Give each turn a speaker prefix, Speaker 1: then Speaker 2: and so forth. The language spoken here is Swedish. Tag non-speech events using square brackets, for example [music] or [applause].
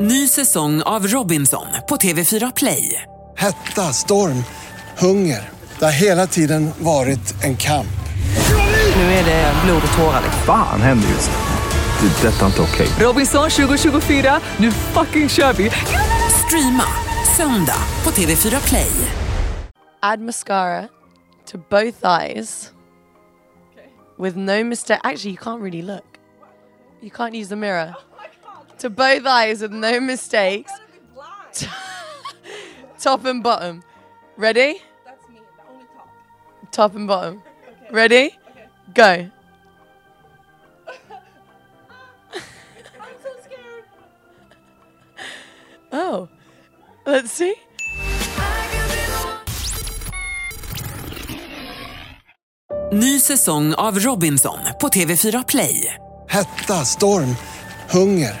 Speaker 1: Ny säsong av Robinson på TV4 Play.
Speaker 2: Hetta, storm, hunger. Det har hela tiden varit en kamp.
Speaker 1: Nu är det blod och tårar.
Speaker 3: Fan händer just nu. Det. är Detta är inte okej.
Speaker 1: Robinson 2024, nu fucking kör vi! Streama söndag på TV4 Play.
Speaker 4: add mascara to both eyes with no mistake. Actually, you can't really look. You can't use the mirror. To both eyes with no mistakes. [laughs] top and bottom. Ready? That's me, the only top. Top and bottom. Ready? Go. [laughs] Oh, let's see.
Speaker 1: Ny säsong av Robinson på TV4 Play.
Speaker 2: Hetta, storm, hunger.